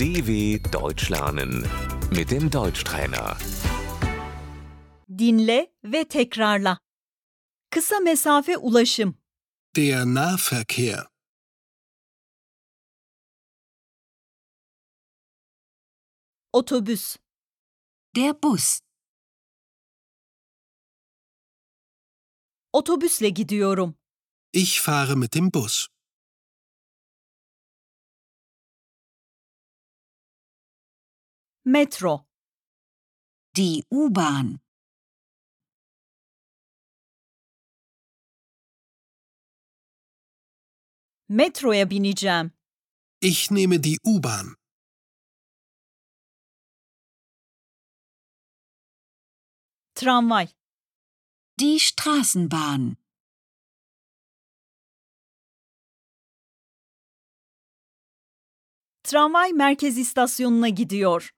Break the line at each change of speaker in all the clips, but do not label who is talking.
DW Deutsch lernen mit dem Deutschtrainer.
Dinle ve tekrarla. Kısa mesafe ulaşım.
Der Nahverkehr.
Otobüs.
Der Bus.
Otobüsle gidiyorum.
Ich fahre mit dem Bus.
Metro.
Die U-Bahn.
Metroya bineceğim.
Ich nehme die U-Bahn.
Tramvay.
Die Straßenbahn.
Tramvay merkez istasyonuna gidiyor.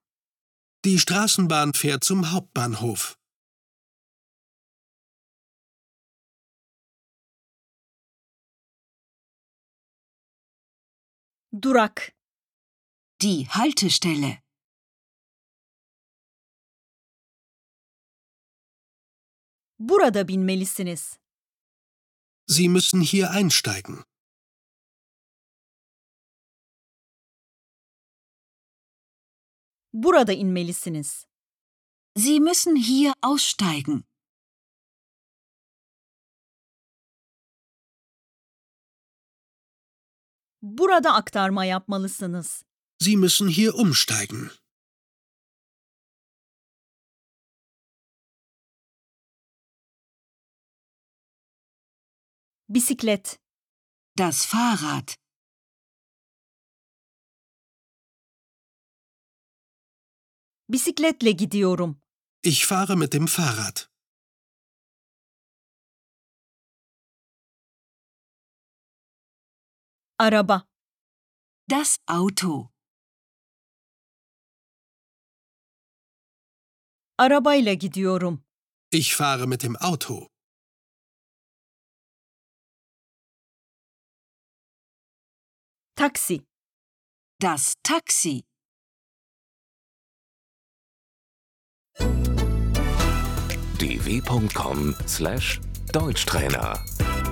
Die Straßenbahn fährt zum Hauptbahnhof.
Durak.
Die Haltestelle.
Burada binmelisiniz.
Sie müssen hier einsteigen.
Burada inmelisiniz.
Sie müssen hier aussteigen.
Burada aktarma yapmalısınız.
Sie müssen hier umsteigen.
Bisiklet.
Das Fahrrad.
Bisikletle gidiyorum.
Ich fahre mit dem Fahrrad.
Araba.
Das Auto.
Arabayla gidiyorum.
Ich fahre mit dem Auto.
Taksi.
Das Taxi.
dw.com/deutschtrainer